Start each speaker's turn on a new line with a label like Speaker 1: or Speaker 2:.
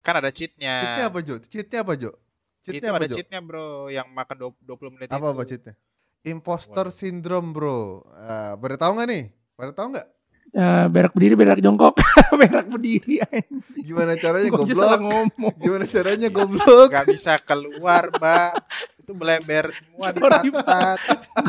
Speaker 1: Kan ada cheatnya.
Speaker 2: Cheatnya apa Jo? Cheatnya apa Jo?
Speaker 1: itu
Speaker 2: Cheatnya apa
Speaker 1: ada
Speaker 2: Jo?
Speaker 1: cheatnya bro, yang makan dua- 20 menit itu.
Speaker 2: Apa apa cheatnya? Imposter
Speaker 1: Waduh.
Speaker 2: syndrome bro. Ah, pada tahu nggak nih? Pada tahu nggak?
Speaker 3: Eh, berak berdiri, berak jongkok, berak berdiri.
Speaker 2: Gimana caranya
Speaker 3: Gue salah
Speaker 2: goblok?
Speaker 3: ngomong.
Speaker 2: Gimana caranya goblok?
Speaker 1: Gak bisa keluar, Mbak. Itu beleber semua di
Speaker 3: Sorry,
Speaker 1: pantat.